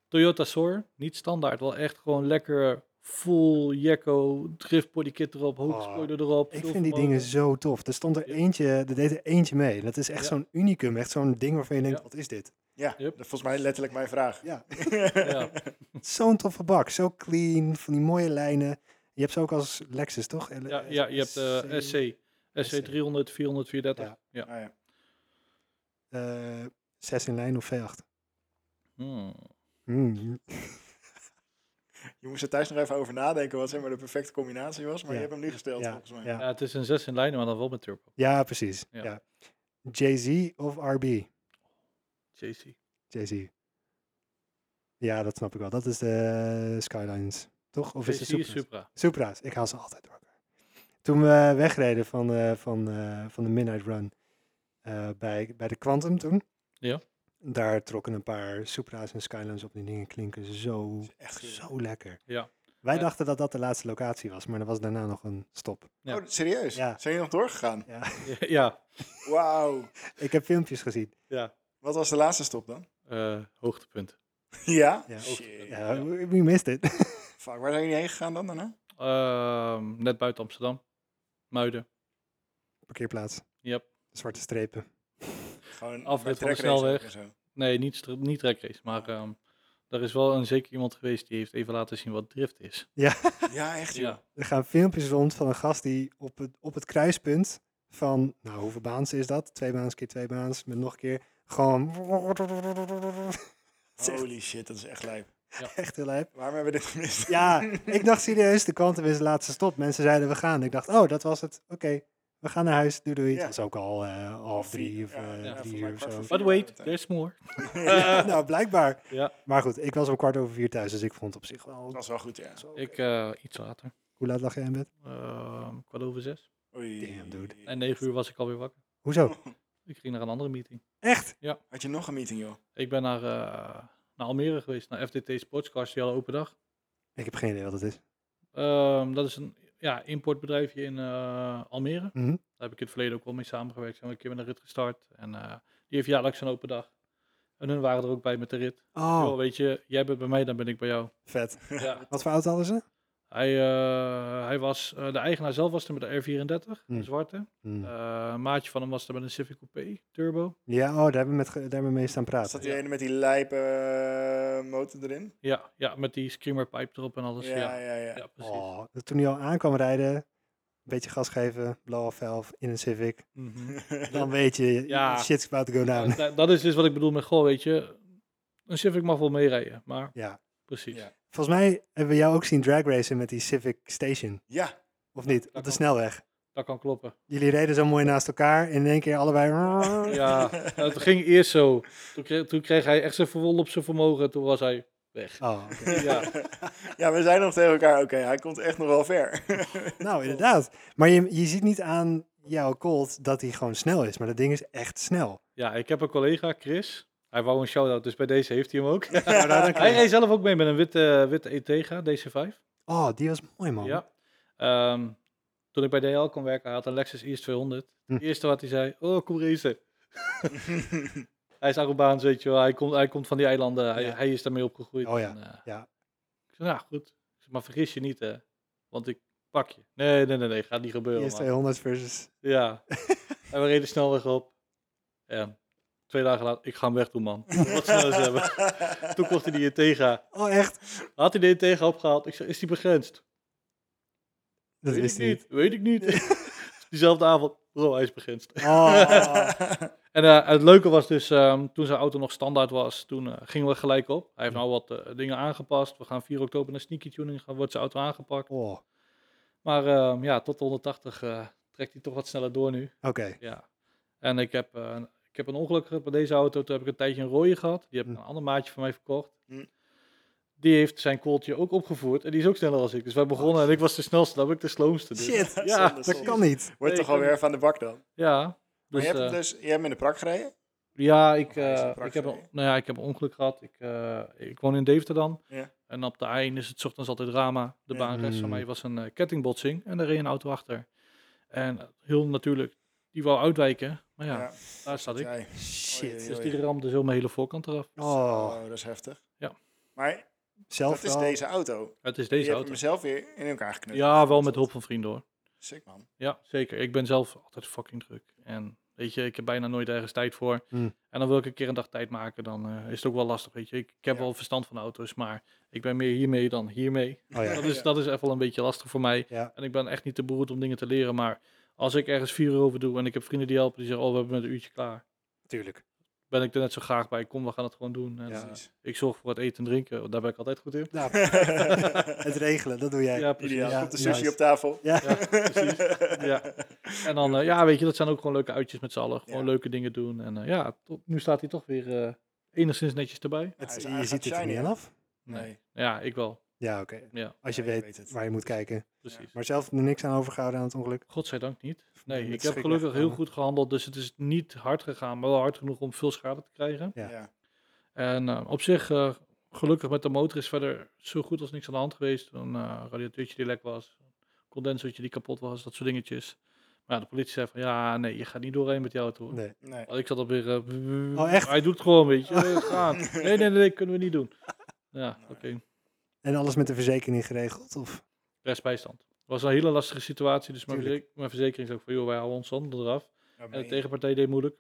A: Toyota Soar, niet standaard. Wel echt gewoon lekker full Jekko, drift bodykit erop, hoofdspoiler erop.
B: Oh,
A: veel
B: Ik vind die
A: vermogen.
B: dingen zo tof. Er stond er
A: Ja.
B: eentje, er deed er eentje mee. En dat is echt
A: Ja.
B: zo'n unicum, echt zo'n ding waarvan je denkt,
A: Ja.
B: wat is dit?
C: ja,
A: Yep.
C: dat is volgens mij letterlijk mijn vraag.
B: Ja.
A: Ja,
B: Zo'n toffe bak, zo clean, van die mooie lijnen. Je hebt ze ook als Lexus, toch? L-
A: ja, ja, je hebt eh, de SC. SC 300, 400, 430.
B: Ja.
A: Ja.
C: Ah, ja.
B: eh, zes in lijn of V8.
A: Hmm.
B: Hmm.
C: Je moest er thuis nog even over nadenken wat zeg maar, de perfecte combinatie was, maar
B: Ja.
C: je hebt hem nu gesteld
B: Ja,
C: volgens mij.
B: ja.
A: Ja, het is een 6 in lijn, maar dan wel met turbo.
B: Ja, precies. Ja.
A: Ja.
B: Jay-Z of RB?
A: JC.
B: Jay-Z. Ja, dat snap ik wel. Dat is de Skylines, toch? Of is
A: JC
B: het
A: is
B: Supra's?
A: Supra.
B: Supra's. Ik haal ze altijd door. elkaar. Toen we wegreden van, eh, van, eh, van de Midnight Run eh, bij, bij de Quantum toen.
A: Ja.
B: Daar trokken een paar Supra's en Skylines op. Die dingen klinken zo,
C: Echt goed.
B: zo lekker.
A: Ja.
B: Wij
A: Ja.
B: dachten dat dat de laatste locatie was, maar er was daarna nog een stop.
A: Ja.
C: Oh, serieus?
B: Ja.
C: Zijn jullie nog doorgegaan?
B: Ja.
A: ja,
C: Wauw.
B: ik heb filmpjes gezien.
A: ja.
C: Wat was de laatste stop dan?
A: Eh, hoogtepunt.
C: Ja?
B: Ja, ook-
C: Shit.
B: Ja, we missed it.
C: Fuck, waar zijn jullie heen gegaan dan daarna?
A: Ehm, net buiten Amsterdam. Muiden.
B: Parkeerplaats.
A: Yep.
B: Zwarte strepen.
A: Afrit
C: Gewoon bij
A: van de
C: trackrace
A: snelweg.
C: en zo.
A: Nee, niet, str- niet trackrace. Maar ehm er is wel een zeker iemand geweest die heeft even laten zien wat drift is.
C: Ja, echt joh.
B: Er gaan filmpjes rond van een gast die op het, op het kruispunt van, nou hoeveel baans is dat? Twee baans keer twee baans met nog een keer gewoon... Het is echt,
C: Holy shit, dat is echt lijp.
B: echt heel lijp.
C: Waarom hebben we dit gemist?
B: Ja, ik dacht serieus, de kant is de laatste stop. Mensen zeiden we gaan. Ik dacht, oh, dat was het. Oké, we gaan naar huis. Doei doei.
C: Ja.
B: Het was ook al eh, half drie of
C: Ja,
B: eh,
A: ja,
B: drie
C: voor mij
B: uur of
C: kwart
B: zo.
C: voor vier.
A: But wait, there's more.
B: Ja, nou, blijkbaar.
A: Ja.
B: Maar goed, ik was om kwart over vier thuis, dus ik vond het op zich wel...
C: Dat was wel goed, ja.
B: zo oké.
A: Ik eh, iets later.
B: Hoe laat lag jij in bed?
A: Ehm kwart over zes.
C: Oei.
B: Damn, dude.
A: En negen uur was ik alweer wakker.
C: Oh.
B: Hoezo?
A: Ik ging naar een andere meeting.
B: Echt?
C: Had je nog een meeting, joh?
A: Ik ben naar, eh, naar Almere geweest, naar FDT Sportscars, die hadden open dag.
B: Ik heb geen idee wat het is.
A: Ehm, dat is een ja, importbedrijfje in eh, Almere.
B: Mhm.
A: Daar heb ik in het verleden ook wel mee samengewerkt. Zijn we een keer met een rit gestart. En eh, die heeft jaarlijks een open dag. En hun waren er ook bij met de rit. Yo,
B: Oh,
A: weet je, jij bent bij mij, dan ben ik bij jou.
B: vet.
A: Ja.
B: Wat voor auto hadden ze?
A: Hij, eh, hij was, eh, de eigenaar zelf was er met de R34,
B: Hmm.
A: de zwarte.
B: Hmm.
A: Eh, een maatje van hem was er met een Civic Coupé, turbo.
B: Ja, oh, daar hebben we, met, ge- daar hebben we mee staan praten.
C: Zat die
A: Ja.
C: ene met die lijpe eh, motor erin?
A: Ja, ja met die screamer pipe erop en alles. Ja,
C: ja,
A: ja,
C: ja, ja.
A: precies.
B: Oh, dat toen hij al aankwam rijden, een beetje gas geven, blow-off valve in een Civic.
A: Mhm.
B: Dan weet je,
A: Ja.
B: shit's about to go down.
A: Ja, da- dat is dus wat ik bedoel met, goh, weet je, een Civic mag wel meerijden, maar
B: Ja.
A: precies.
C: Ja.
B: Volgens mij hebben we jou ook zien drag racen met die Civic Station,
C: Ja,
B: of niet? Op de
A: klopt.
B: snelweg.
A: Dat kan kloppen.
B: Jullie reden zo mooi naast elkaar en in één keer allebei...
A: Ja,
B: Ah.
A: het ging eerst zo. Toen kreeg, toen kreeg hij echt zijn verwol op zijn vermogen. Toen was hij weg.
B: Oh, oké.
A: Ja,
C: ja we zijn nog tegen elkaar. Oké, hij komt echt nog wel ver.
B: Nou, inderdaad. Maar je, je ziet niet aan jouw Colt dat hij gewoon snel is, maar dat ding is echt snel.
A: ja, ik heb een collega, Chris. Hij wou een shout-out, dus bij deze heeft hij hem ook.
B: Nou, daar dank je
A: Hij
B: wel.
A: reed zelf ook mee met een witte, witte E Etega, DC5.
B: Oh, die was mooi, man.
A: Ja. Ehm, toen ik bij DL kon werken, hij had een Lexus IS 200.
B: Hm.
A: Het eerste wat hij zei, oh, kom racen. hij is Arubaans, weet je wel. Hij komt, hij komt van die eilanden. Hij,
B: Ja.
A: hij is daarmee opgegroeid.
B: Oh ja,
A: En, eh,
B: ja.
A: Ik zei, nou goed. Ik zei, maar vergis je niet, hè. Want ik pak je. Nee, nee, nee, nee. Gaat niet gebeuren,
B: Eerst
A: man.
B: 200 versus...
A: Ja. en we reden snelweg op. En twee dagen later, ik ga hem wegdoen, man. Wat snel ze hebben. Toen kocht hij die Integra.
B: Oh, echt?
A: Had hij die Integra opgehaald? Ik zei, is die begrensd?
B: Dat
A: Weet
B: wist
A: ik
B: hij niet.
A: niet. Weet ik niet. Diezelfde avond, bro, hij is begrensd.
B: Oh,
A: En eh, het leuke was dus, ehm, toen zijn auto nog standaard was, toen eh, gingen we gelijk op. Hij heeft nou wat eh, dingen aangepast. We gaan 4 oktober naar sneaky tuning, gaan, wordt zijn auto aangepakt.
B: oh. oké.
A: Maar ehm, ja, tot de 180 eh, trekt hij toch wat sneller door nu. Ja. En ik heb, eh, een- ik heb een ongeluk gehad bij deze auto. Toen heb ik een tijdje een rode gehad. Die heb ik
B: Hm.
A: een ander maatje van mij verkocht.
C: Hm.
A: Die heeft zijn kooltje ook opgevoerd. En die is ook sneller als ik. Dus wij begonnen en ik was de snelste. Dan ben ik de sloomste. Dus.
B: Shit,
A: Ja,
C: Zonde,
B: dat
C: zonde.
B: kan niet.
C: Wordt
A: Nee,
C: toch alweer even aan de bak dan?
A: Ja.
C: Maar
A: Dus,
C: je hebt het
A: eh,
C: dus, je hebt in de prak gereden?
A: ja, ik,
C: Of hij is
A: eh,
C: een pracht,
A: ik, heb, een,
C: sorry.
A: nou ja, ik heb een ongeluk gehad. Ik, eh, ik woon in Deventer dan.
C: Ja.
A: En op de eind is het 's ochtends altijd drama. De
C: Ja.
A: baan rechts van
B: Hmm.
A: mij was een eh, kettingbotsing. En daar reed een auto achter. En eh, heel natuurlijk, die wou uitwijken. Maar ja, daar zat ik.
C: jij.
B: Shit.
A: Dus die ramde zo mijn hele voorkant eraf.
B: Oh,
C: Oh, dat is heftig.
A: Ja.
C: Maar
B: zelf
C: dat is
B: wel.
C: deze auto.
A: Het is
C: Je
A: deze
C: hebt
A: auto.
C: hem zelf weer in elkaar geknutseld.
A: Ja, wel met hulp van vrienden hoor.
C: Sick man.
A: Ja, zeker. Ik ben zelf altijd fucking druk. En weet je, ik heb bijna nooit ergens tijd voor.
B: Hmm.
A: En dan wil ik een keer een dag tijd maken, dan eh, is het ook wel lastig, weet je. Ik, ik heb
C: Ja.
A: wel verstand van auto's, maar ik ben meer hiermee dan hiermee.
B: Oh ja.
A: Dat is,
C: Ja.
A: dat is echt wel een beetje lastig voor mij.
B: Ja.
A: En ik ben echt niet te beroerd om dingen te leren, maar als ik ergens vier uur over doe en ik heb vrienden die helpen, die zeggen, oh, we hebben met een uurtje klaar.
B: Tuurlijk.
A: Ben ik er net zo graag bij, kom, we gaan het gewoon doen. En,
B: Ja.
A: eh, ik zorg voor het eten en drinken, want daar ben ik altijd goed in.
B: Nou, het regelen, dat doe jij.
A: Ja, precies.
C: Ideaal.
B: Ja,
C: Komt de sushi
B: nice.
C: op tafel.
A: Ja, precies. Ja. En dan, eh, ja, weet je, dat zijn ook gewoon leuke uitjes met z'n allen. Gewoon
C: Ja.
A: leuke dingen doen. En eh, ja, tot, nu staat hij toch weer eh, enigszins netjes erbij.
C: Hij
B: Het,
C: is
B: je
C: eigenlijk
B: ziet het er
C: shiny,
B: niet
C: hè?
B: aan af.
C: Nee.
A: Ja, ik wel.
B: Ja, oké.
A: Ja,
B: Als je
C: Ja, je
B: weet,
C: weet het.
B: waar je moet kijken.
A: precies.
B: Maar zelf er niks aan overgehouden aan het ongeluk.
A: Godzijdank niet.
B: met
A: Nee, ik heb
B: schrik
A: gelukkig heel
B: weggekomen.
A: goed gehandeld. Dus het is niet hard gegaan, maar wel hard genoeg om veel schade te krijgen.
B: Ja.
C: Ja.
A: En eh, op zich, eh, gelukkig met de motor is verder zo goed als niks aan de hand geweest. Een eh, radiateurtje die lek was, een condensertje die kapot was, dat soort dingetjes. Maar ja, de politie zei van, ja, nee, je gaat niet doorheen met jou auto. hoor.
B: Nee.
C: Nee.
A: Ik zat alweer... eh,
B: Oh, echt?
A: Hij doet het gewoon, weet je. eh, het gaat. Nee, nee, nee, nee, kunnen we niet doen. Ja, oké.
B: En alles met de verzekering geregeld? Of?
A: Rechtsbijstand. Het was een hele lastige situatie, dus mijn,
B: Tuurlijk.
A: verzek- mijn verzekering zei ook van, joh, wij houden ons handen eraf.
C: Ja,
A: En
C: maar
A: de tegenpartij deed moeilijk.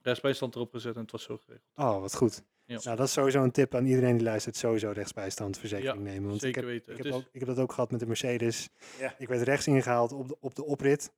A: Rechtsbijstand erop gezet en het was zo geregeld.
B: Oh, wat goed.
A: Ja.
B: Nou, dat is sowieso een tip aan iedereen die luistert. Sowieso rechtsbijstandverzekering
A: Ja,
B: nemen. Want ik
A: Zeker
B: heb,
A: weten.
B: ik,
A: Het
B: heb
A: is,
B: ook, ik heb dat ook gehad met de Mercedes.
C: Ja.
B: Ik werd rechts ingehaald op de, op de oprit.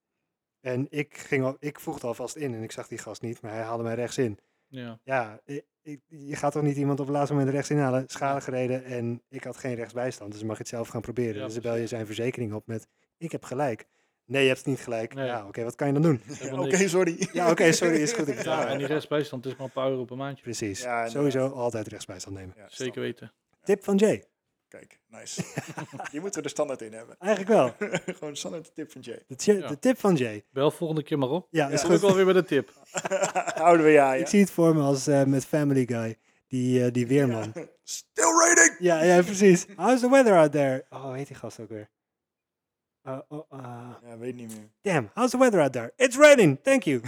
B: En ik, ging al, ik voegde alvast in en ik zag die gast niet, maar hij haalde mij rechts in.
A: ja.
B: Ja, i- ik- je gaat toch niet iemand op het laatste moment rechts inhalen? Schade gereden en ik had geen rechtsbijstand, dus dan mag je het zelf gaan proberen.
A: Ja,
B: dus dan bel je zijn verzekering op met, ik heb gelijk. Nee, je hebt niet gelijk.
A: Nee.
B: Ja, oké, wat kan je dan doen?
C: Ja,
A: helemaal
C: Oké,
A: niks.
C: sorry.
B: Ja, oké, sorry, is goed, ik betaal.
A: Ja, en die rechtsbijstand is maar een paar euro per maandje.
B: Precies,
C: Ja, inderdaad.
B: sowieso altijd rechtsbijstand nemen.
C: Ja,
A: Zeker weten.
B: Tip van Jay,
C: Kijk, nice. Die moeten we er standaard in hebben.
B: eigenlijk wel.
C: Gewoon een standaard tip van Jay.
B: De, tje-
A: Ja.
B: de tip van Jay.
A: Bel volgende keer maar op.
B: Ja,
A: Dat
B: is
A: is
B: goed.
A: ook alweer met een tip.
C: Houden we ja, ja.
B: Ik zie het voor me als eh, met Family Guy, die, eh, die weerman.
C: Still rating!
B: Ja. ja, precies. How's the weather out there? Oh, hoe heet die gast ook weer? Eh, oh, ah.
C: Ja, weet niet meer.
B: Damn, how's the weather out there? It's raining, thank you.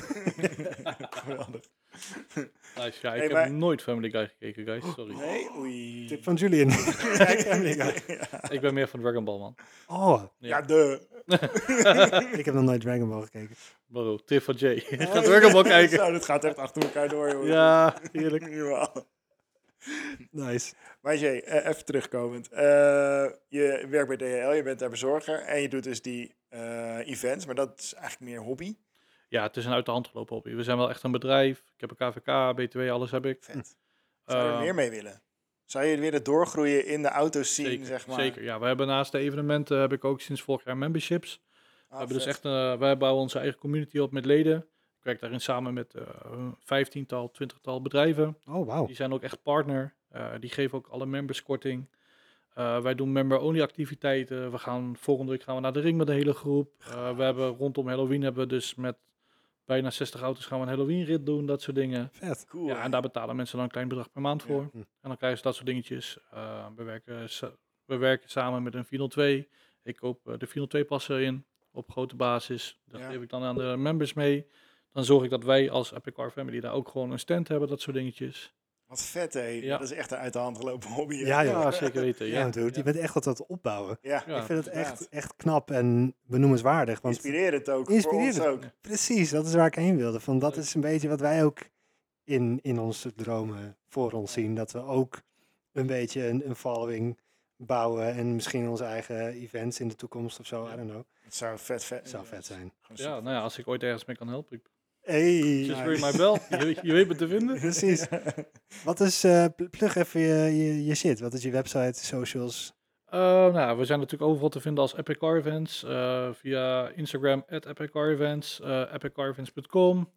C: Geweldig.
A: Nice, ja, ik
C: Hey,
A: heb
C: maar-
A: nooit Family Guy gekeken, guys. Sorry.
C: Nee, oei.
B: Tip van Julian. Kijk, Family Guy.
C: Ja,
A: Ik ben meer van Dragon Ball, man.
B: Oh,
C: ja, de.
B: ik heb nog nooit Dragon Ball gekeken.
A: Bro, tip van Jay. Ga Dragon Ball kijken.
C: Zo, dat gaat echt achter elkaar door, joh.
A: Ja, heerlijk.
C: Jawel.
B: Nice.
C: Maar Jay, eh, even terugkomend. Eh, je werkt bij DHL, je bent daar bezorger en je doet dus die eh, events, maar dat is eigenlijk meer hobby.
A: Ja, het is een uit de hand gelopen hobby. We zijn wel echt een bedrijf. Ik heb een KVK, BTW, alles heb ik.
C: Vet. Zou je er
A: Ehm,
C: meer mee willen? Zou je willen doorgroeien in de auto's zien,
A: zeker,
C: zeg maar?
A: zeker. Ja, we hebben naast de evenementen heb ik ook sinds vorig jaar memberships.
C: Ah,
A: we hebben dus
C: vet.
A: echt, eh, wij bouwen onze eigen community op met leden. Ik werk daarin samen met eh, een vijftiental, twintigtal bedrijven.
B: Oh, wauw.
A: Die zijn ook echt partner. Eh, die geven ook alle members korting. Eh, wij doen member-only activiteiten. We gaan volgende week gaan we naar de ring met de hele groep. Eh, we hebben rondom Halloween hebben we dus met bijna 60 auto's gaan we een Halloween rit doen, dat soort dingen.
B: Vet.
C: Cool.
A: Ja, en daar betalen mensen dan een klein bedrag per maand
C: Ja.
A: voor.
B: Hm.
A: En dan krijgen ze dat soort dingetjes. Eh, we, werken, sa- we werken samen met een 402. Ik koop eh, de 402 passen in op grote basis. Dat
C: Ja.
A: geef ik dan aan de members mee. Dan zorg ik dat wij als Epic Car Family daar ook gewoon een stand hebben, dat soort dingetjes.
C: Wat vet, hé.
A: Ja.
C: Dat is echt een uit de hand gelopen hobby. hè.
B: Ja, joh.
A: Ja, Ah, zeker weten.
B: Ja,
A: Ja,
B: dude, je bent echt wat aan het opbouwen.
C: Ja,
A: Ja,
B: ik vind het
C: inderdaad.
B: echt, echt knap en benoemenswaardig. Want
C: inspirerend ook.
B: Inspirerend.
C: Voor ons ook.
B: precies, dat is waar ik heen wilde. Van, dat is een beetje wat wij ook in, in onze dromen voor ons zien. Dat we ook een beetje een, een following bouwen. En misschien onze eigen events in de toekomst of zo. I don't know.
C: Het zou vet, vet.
B: Zou vet zijn.
C: Gewoon
A: ja, nou ja, als ik ooit ergens mee kan helpen. ik-
B: Hey,
A: Just ring my bell. Je, weet- je weet me te vinden.
B: Precies. Wat is, eh, pl- plug even je, je, je shit. Wat is je website, socials?
A: Eh, nou, ja, we zijn natuurlijk overal te vinden als Epic Car Events. eh, via Instagram, at Epic Car Events, eh, epiccarevents.com.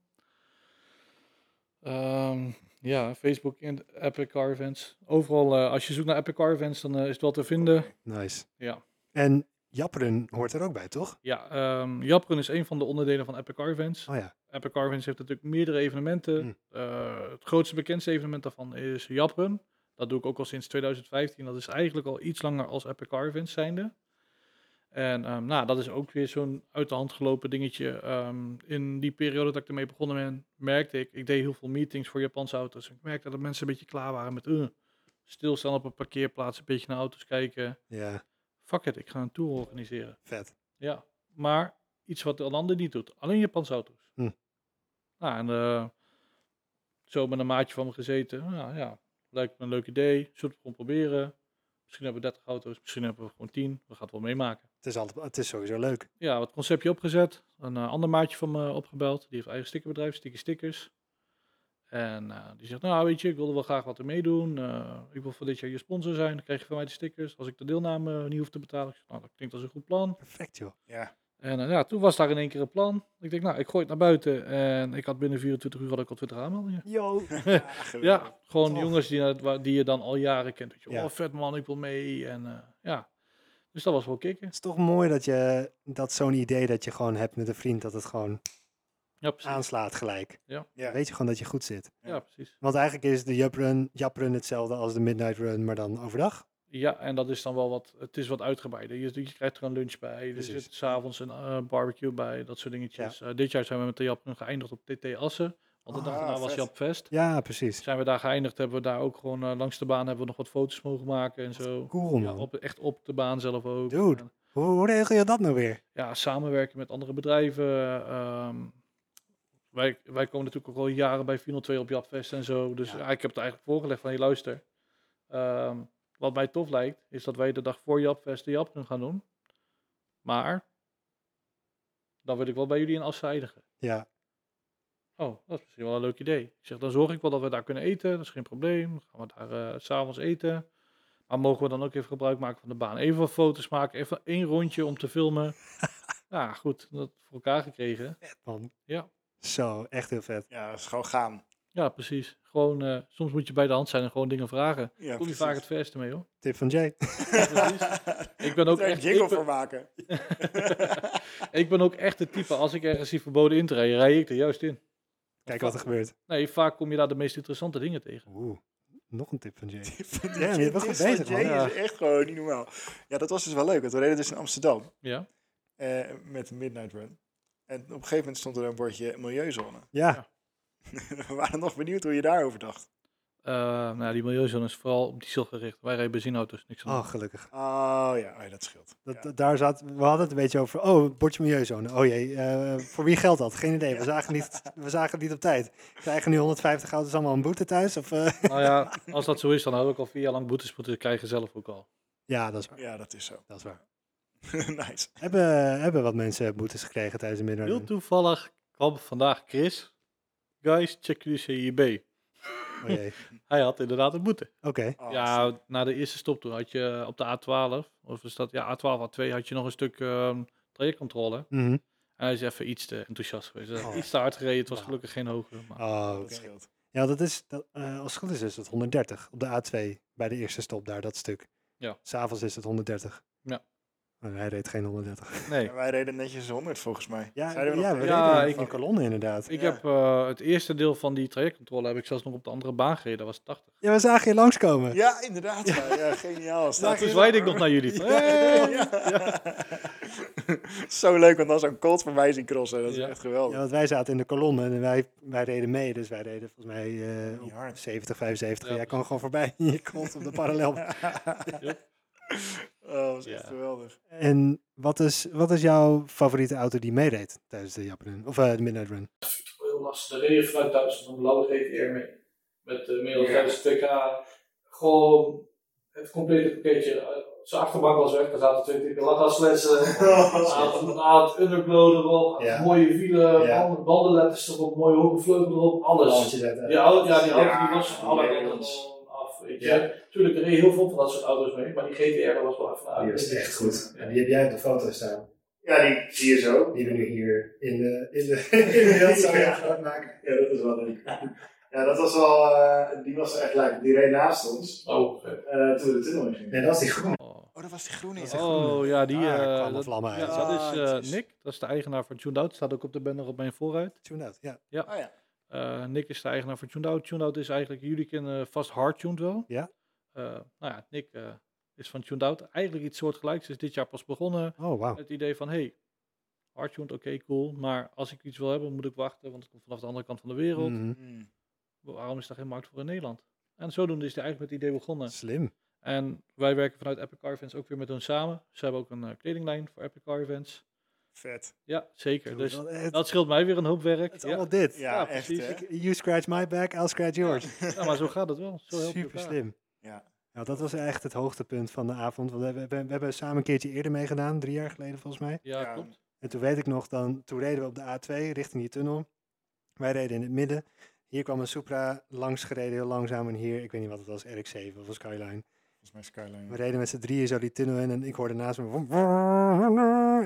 A: Ehm, ja, Facebook en Epic Car Events. Overal, eh, als je zoekt naar Epic Car Events, dan eh, is het wel te vinden.
B: Nice.
A: Ja.
B: En Japperen hoort er ook bij, toch?
A: Ja, ehm Japren is een van de onderdelen van Epic Car Events.
B: Oh ja.
A: Epic Car Events heeft natuurlijk meerdere evenementen.
B: Hm.
A: Eh, het grootste bekendste evenement daarvan is Japren. Dat doe ik ook al sinds 2015. Dat is eigenlijk al iets langer als Epic Car Events zijnde. En ehm, nou, dat is ook weer zo'n uit de hand gelopen dingetje. Ehm, in die periode dat ik ermee begonnen ben, merkte ik, ik deed heel veel meetings voor Japanse auto's. Ik merkte dat mensen een beetje klaar waren met eh, stilstaan op een parkeerplaats, een beetje naar auto's kijken.
B: Ja,
A: Fuck it, ik ga een tour organiseren.
B: vet.
A: Ja, maar iets wat de ander niet doet. Alleen Japanse auto's.
B: Hm.
A: Nou, en eh, zo met een maatje van me gezeten. Nou ja, lijkt me een leuk idee. Zullen we het gewoon proberen? Misschien hebben we 30 auto's, misschien hebben we gewoon 10. We gaan het wel meemaken.
B: Het is, altijd, het is sowieso leuk.
A: Ja, wat conceptje opgezet. Een eh, ander maatje van me opgebeld. Die heeft eigen stickerbedrijf, Sticky Stickers. En eh, die zegt, nou weet je, ik wilde wel graag wat er meedoen. Eh, ik wil voor dit jaar je sponsor zijn. Dan krijg je van mij de stickers. Als ik de deelname eh, niet hoef te betalen. Ik zeg, nou, dat klinkt als een goed plan.
B: Perfect, joh.
C: Ja,
A: En eh, ja, toen was daar in één keer een plan. Ik denk, nou, ik gooi het naar buiten. En ik had binnen 24 uur had ik al 20 aanmeldingen.
B: Yo.
C: Ah, geweldig.
A: Ja, gewoon
B: Tof.
A: jongens die, naar- waar- die je dan al jaren kent. Weet je,
B: Oh. Ja.
A: Oh, vet man, ik wil mee. En eh, ja, dus dat was wel kicken.
B: Het is toch mooi dat je dat zo'n idee dat je gewoon hebt met een vriend, dat het gewoon
A: Ja, precies.
B: aanslaat gelijk.
C: Ja.
B: Dan weet je gewoon dat je goed zit.
A: Ja, precies.
B: Want eigenlijk is de Japrun, Japrun hetzelfde als de Midnight Run, maar dan overdag.
A: Ja, en dat is dan wel wat, het is wat uitgebreider. Je, je krijgt er een lunch bij, er
B: Precies.
A: zit s'avonds een eh, barbecue bij, dat soort dingetjes. Eh, dit jaar zijn we met de Jap geëindigd op TT Assen, want de
B: Ah,
A: dag daarna was
C: vet.
A: Japfest.
B: Ja, precies.
A: Zijn we daar geëindigd, hebben we daar ook gewoon eh, langs de baan hebben we nog wat foto's mogen maken en zo.
B: Cool,
A: Ja,
B: man.
A: op, echt op de baan zelf ook.
B: Dude.
A: En,
B: Hoe, hoe regel je dat nou weer?
A: ja, samenwerken met andere bedrijven. ehm, wij, wij komen natuurlijk ook al jaren bij Final 2 op Japfest en zo. Dus
B: Ja.
A: ja, ik heb het eigenlijk voorgelegd van, je luister. ehm, wat mij tof lijkt, is dat wij de dag voor Japfest de Japkun gaan doen. Maar, dan wil ik wel bij jullie in afzijdigen.
B: Ja,
A: Oh, dat is misschien wel een leuk idee. Ik zeg, dan zorg ik wel dat we daar kunnen eten. Dat is geen probleem. Dan gaan we daar eh, s s'avonds eten. Maar mogen we dan ook even gebruik maken van de baan? Even wat foto's maken. Even één rondje om te filmen. ja, goed. Dat voor elkaar gekregen.
B: man.
A: Ja.
B: Zo, echt heel vet.
C: Ja, dat is gewoon gaan.
A: Ja, precies. Gewoon, eh, soms moet je bij de hand zijn en gewoon dingen vragen.
C: Ja,
A: Kom je
C: precies.
A: vaak het verste mee, hoor.
B: Tip van Jay.
A: Ja, precies. Ik ben ook
C: Daar een
A: echt-
C: jingle
A: ik ben-
C: voor maken.
A: Ik ben ook echt het type, als ik ergens zie verboden in te rijden, rij ik er juist in.
B: Kijk wat er gebeurt.
A: Nee, vaak kom je daar de meest interessante dingen tegen.
B: Oeh, nog een tip van Jay.
C: Ja,
B: Ja, maar je bent goed bezig, man.
C: Jay is echt gewoon niet normaal. Ja, dat was dus wel leuk. Want we reden dus in Amsterdam
A: Ja,
C: eh, met de Midnight Run. En op een gegeven moment stond er een bordje milieuzone.
B: Ja,
C: we waren nog benieuwd hoe je daarover dacht.
A: Eh, nou, die milieuzone is vooral op diesel gericht. Wij rijden benzineauto's, niks aan.
B: oh, gelukkig.
C: Oh ja, oh, ja, dat scheelt.
B: Dat,
C: Ja.
B: dat- daar zat, we hadden het een beetje over. Oh, bordje milieuzone. Oh jee, eh, voor wie geldt dat? Geen idee. We zagen, niet, we zagen het niet op tijd. Krijgen nu 150 auto's allemaal een boete thuis? Of, eh?
A: Nou ja, als dat zo is, dan had ik al vier jaar lang boetes moeten krijgen zelf ook al.
B: Ja, dat is waar.
C: Ja, dat is zo.
B: Dat is waar.
C: nice.
B: Hebben, hebben wat mensen boetes gekregen tijdens de middag?
A: Heel toevallig kwam vandaag Chris. Guys, check jullie CIB.
B: Oh jee.
A: Hij had inderdaad een boete.
B: Oké.
C: Oh,
A: Ja, na de eerste stop toen had je eh, op de A12, of is dat, ja, A12, A2 had je nog een stuk ehm, trajectcontrole.
B: Mhm.
A: En hij is even iets te enthousiast geweest. Hij had
B: Oh.
A: Iets te hard gereden, het was
B: Ja.
A: gelukkig geen hogere. Maar
B: Oh,
C: dat
B: oké.
C: scheelt.
B: Ja, dat is, dat, eh, als het goed is, is het 130 op de A2 bij de eerste stop daar, dat stuk.
A: Ja.
B: S'avonds is het 130.
A: Ja.
B: Maar hij reed geen 130.
A: nee.
C: Ja, wij reden netjes 100 volgens mij.
B: Ja,
C: Zeiden we nog
B: ja, we
C: tegen
A: Ja,
B: reden
C: elkaar
B: in
C: van-
B: een kolonne inderdaad.
A: Ik
C: Ja.
A: heb eh, het eerste deel van die trajectcontrole heb ik zelfs nog op de andere baan gereden, dat was 80.
B: Ja, we zagen je langskomen.
C: Ja, inderdaad. Ja, ja, geniaal. was
A: Nou,
C: dat.
A: toen zwaaide ik nog naar jullie. van, hey!
C: Zo leuk, want dan zo'n Colt voorbij zien crossen. Dat is
A: Ja.
C: echt geweldig.
B: Ja, want wij zaten in de kolonne en wij, wij reden mee. Dus wij reden volgens mij eh, op
C: Niet hard.
B: 70, 75.
A: Ja,
B: Jij kwam gewoon voorbij en je komt op de parallel.
C: Oh, dat is echt
A: Ja.
C: geweldig.
B: En wat is, wat is jouw favoriete auto die meereed tijdens de Japan Of eh, de Midnight Run?
A: heel lastig. Dan reed je vanuit Duitsland een blauwe GTR mee. Met eh, de middel 50 pk. Gewoon het complete pakketje. Eh, Zijn achterbank was weg, daar zaten twee dikke lagaslitsen. Aan het underglow erop,
B: Ja.
A: mooie wielen,
B: Ja.
A: banden- bandenletters erop, mooie hoekvleugel erop, alles. Die auto, ja, die auto die was van alle
C: Ja,
A: kanten
C: jongens.
A: gewoon af. Weet je.
E: Ja.
A: Tuurlijk, er reed heel veel van dat soort auto's mee, maar die GTR dat was wel even
E: Nou, Die
A: uit.
E: is echt goed.
A: Ja.
E: En die heb jij op de foto staan.
C: Ja, die zie je zo.
E: Die we nu hier in de, in de, in de beeldzaal
C: Ja.
E: gaan maken.
C: Ja, dat is wel leuk.
E: Ja, dat was wel, eh, die was er echt leuk. Die reed naast ons
A: Oh, vet.
E: eh, toen we de tunnel in gingen. Nee, dat was die groene.
C: Oh, dat was die groene.
B: Dat
C: ja.
B: is
A: Oh ja, die.
B: Ah, Daar
A: eh,
B: kwam de
A: dat-
B: vlam uit.
A: ja, dat is eh,
C: Ah,
A: Nick, dat is de eigenaar van Tuned Out. Staat ook op de banner op mijn vooruit.
B: Tuned out, ja.
C: Oh ja.
A: Eh, Nick is de eigenaar van Tuned Out. Tuned Out is eigenlijk, jullie kennen vast Hard Tuned wel.
B: Ja.
A: Eh, nou ja, Nick eh, is van Tuned Out. Eigenlijk iets soortgelijks. Is dit jaar pas begonnen.
B: Oh, wauw.
A: Het idee van, hey, Hard Tuned, oké, cool. Maar als ik iets wil hebben, moet ik wachten, want het komt vanaf de andere kant van de wereld.
B: Mhm.
C: Mm.
A: Waarom is daar geen markt voor in Nederland? En zodoende is hij eigenlijk met het idee begonnen.
B: Slim.
A: En wij werken vanuit Epic Car Events ook weer met hun samen. Ze hebben ook een eh, kledinglijn voor Epic Car Events.
C: Vet.
A: Ja, zeker. Dus
B: Dude, het,
A: dat scheelt mij weer een hoop werk.
B: het is
A: ja.
B: allemaal dit.
C: Ja,
A: Ja,
C: echt
A: precies.
C: hè.
B: Ik- You scratch my back, I'll scratch yours.
A: Ja, maar zo gaat het wel. Zo help je
B: Super
A: elkaar.
B: slim.
C: Ja.
B: Nou, dat was echt het hoogtepunt van de avond. Want we, hebben- we, hebben- we hebben samen een keertje eerder meegedaan, drie jaar geleden volgens mij.
A: Ja,
C: Ja.
A: klopt.
B: En toen weet ik nog, dan, toen reden we op de A2 richting die tunnel. Wij reden in het midden. Hier kwam een Supra langs gereden, heel langzaam. En hier, ik weet niet wat het was, RX-7 of een Skyline.
C: Volgens mij Skyline.
B: We reden met z'n drieën zo die tunnel in. En ik hoorde naast me... vroom,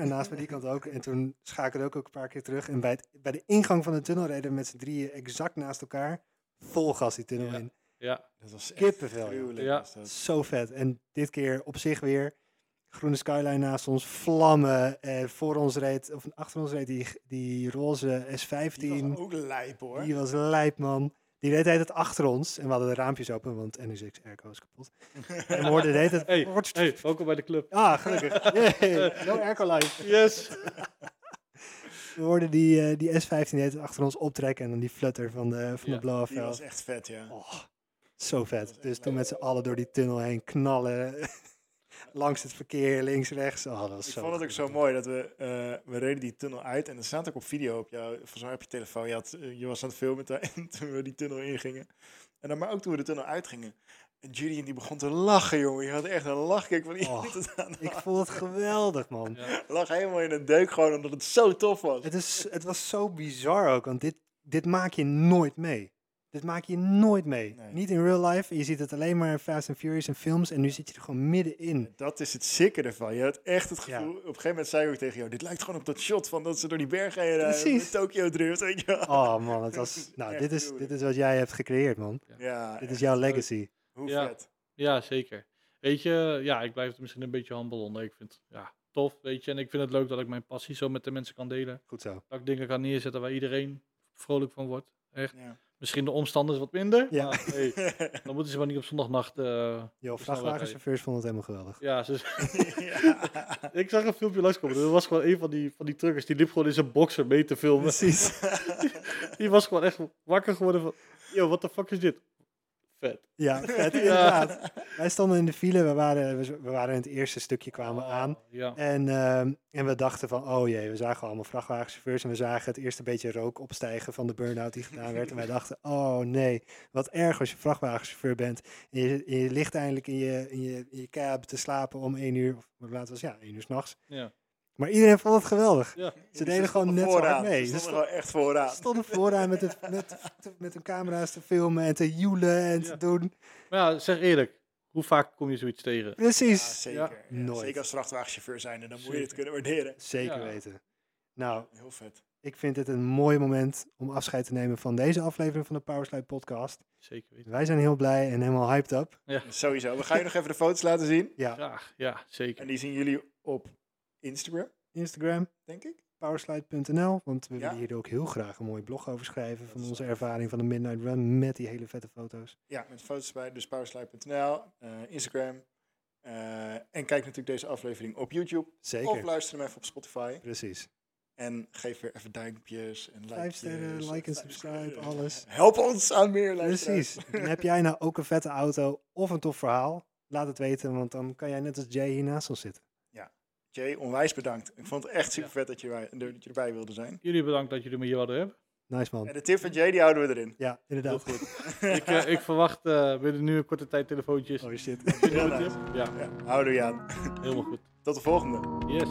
B: En naast me die kant ook. En toen schakelde ik ook een paar keer terug. En bij, het, bij de ingang van de tunnel reden we met z'n drieën exact naast elkaar. Vol gas die tunnel
A: Ja.
B: in.
A: Ja,
C: Dat was echt
B: Kippenvel, joh.
C: gruwelijk
A: Ja.
C: was dat.
B: Zo vet. En dit keer op zich weer. Groene skyline naast ons, vlammen. Eh, voor ons reed, of achter ons reed die, die roze S15.
C: Die was ook lijp hoor.
B: Die was lijp, man. Die deed het achter ons en we hadden de raampjes open, want NSX Airco is kapot. En we hoorden deed het.
A: Hey, hey, welkom bij de club.
B: Ah, gelukkig. Yay, No airco life.
A: Yes.
B: We hoorden die, eh, die S15 deed het achter ons optrekken en dan die flutter van de, van
A: Ja,
B: de blow-off.
C: Die was echt vet, ja.
B: Oh, zo vet. Dus toen met z'n allen door die tunnel heen knallen. Langs het verkeer, links, rechts. Oh, dat was
C: Ik
B: zo
C: vond het ook
B: goed.
C: zo mooi dat we, eh, we reden die tunnel uit en dat staat ook op video op jou, volgens mij op je telefoon. Je, had, eh, je was aan het filmen daar, en toen we die tunnel ingingen. En dan maar ook toen we de tunnel uitgingen. En Julian die begon te lachen, jongen. Je had echt een lachkik van iemand.
B: Och.
C: het aan.
B: Ik vond het geweldig, man.
C: Lag helemaal in een deuk gewoon omdat het zo tof was.
B: Het, is, het was zo bizar ook, want dit, dit maak je nooit mee. Dit maak je nooit mee.
C: Nee.
B: Niet in real life. Je ziet het alleen maar in Fast and Furious en films. En nu zit je er gewoon middenin.
C: Dat is het sikke ervan. Je had echt het
B: Ja.
C: gevoel, op een gegeven moment zei ik ook tegen jou, dit lijkt gewoon op dat shot van dat ze door die bergen heen rijden,
B: Precies.
C: met Tokyo drift, weet je wel.
B: Oh man, het was, nou,
C: Echt
B: dit, is,
C: gruwelijk.
B: dit is wat jij hebt gecreëerd, man.
C: Ja,
B: Dit is jouw
A: leuk.
B: legacy.
C: hoe
A: Ja.
C: vet.
A: Ja, zeker. Weet je, ja, ik blijf er misschien een beetje humble onder. Ik vind het ja, tof, weet je. En ik vind het leuk dat ik mijn passie zo met de mensen kan delen.
B: Goed zo.
A: Dat ik dingen kan neerzetten waar iedereen vrolijk van wordt.
C: Ja.
A: Misschien de omstanders wat minder.
B: Ja.
A: Maar, hey, dan moeten ze maar niet op zondagnacht... eh,
B: Yo,
A: de snelweg rijden.
B: vrachtwagenchauffeurs vonden het helemaal geweldig.
A: Ja, ze,
C: Ja.
A: Ik zag een filmpje langskomen. Dat was gewoon een van die, van die truckers. Die liep gewoon in zijn boxer mee te filmen.
B: Precies.
A: Die was gewoon echt wakker geworden van... Yo, what the fuck is dit? Vet.
B: Ja, vet, inderdaad. Wij stonden in de file, we waren, we waren in het eerste stukje kwamen
A: Oh.
B: we aan.
A: Ja.
B: En, ehm, en we dachten van, oh jee, we zagen allemaal vrachtwagenchauffeurs en we zagen het eerste beetje rook opstijgen van de burn-out die gedaan werd. en wij dachten, oh nee, wat erg als je vrachtwagenchauffeur bent. En je, en je ligt eindelijk in je, in, je, in je cab te slapen om één uur, of hoe laat was het? ja, één uur s'nachts.
A: Ja.
B: Maar iedereen vond het geweldig.
A: Ja.
B: Ze deden gewoon net zo hard
C: vooraan.
B: mee.
C: Ze
B: Ze
C: stonden wel echt vooraan.
B: stonden vooraan met, het, met, met hun camera's te filmen en te joelen en te
A: Ja.
B: doen.
A: Maar ja, zeg eerlijk. Hoe vaak kom je zoiets tegen?
C: Ja,
B: Precies.
C: zeker.
A: Ja.
C: Ja,
B: Nooit.
C: Zeker als vrachtwagenchauffeur zijn en dan moet je het
A: Zeker.
C: kunnen waarderen.
B: Zeker
A: Ja.
B: weten. Nou,
C: Heel vet.
B: ik vind dit een mooi moment om afscheid te nemen van deze aflevering van de Powerslide podcast.
A: Zeker weten.
B: Wij zijn heel blij en helemaal hyped up.
C: Sowieso. We gaan je nog even de foto's laten zien.
B: Ja,
A: Graag. Ja, zeker.
C: En die zien jullie op Instagram,
B: Instagram,
C: denk ik.
B: powerslide.nl, want we
C: Ja.
B: willen hier ook heel graag een mooi blog over schrijven
C: Dat
B: van
C: is
B: onze
C: waar.
B: ervaring van de Midnight Run met die hele vette foto's.
C: Ja, met foto's bij, dus powerslide.nl, eh, Instagram. eh, en kijk natuurlijk deze aflevering op YouTube. Of
B: Zeker.
C: luister hem even op Spotify.
B: Precies.
C: En geef weer even duimpjes en
B: Vijf
C: likes.
B: sterren, like en subscribe, alles.
C: Help ons aan meer luisteraars.
B: Precies. En heb jij nou ook een vette auto of een tof verhaal? Laat het weten, want dan kan jij net als Jay hier naast ons zitten.
C: Jay, onwijs bedankt. Ik vond het echt super vet dat je, wij- dat je erbij wilde zijn.
A: Jullie bedankt dat jullie me hier hadden hebben.
B: Nice man.
C: En de tip van Jay, die houden we erin.
B: Ja, inderdaad.
A: Ik, eh, ik verwacht eh, binnen nu een korte tijd telefoontjes.
B: Oh shit.
A: Jullie hebben een tip? Ja,
C: Ja, houden we je aan.
A: helemaal goed.
C: Tot de volgende.
A: Yes.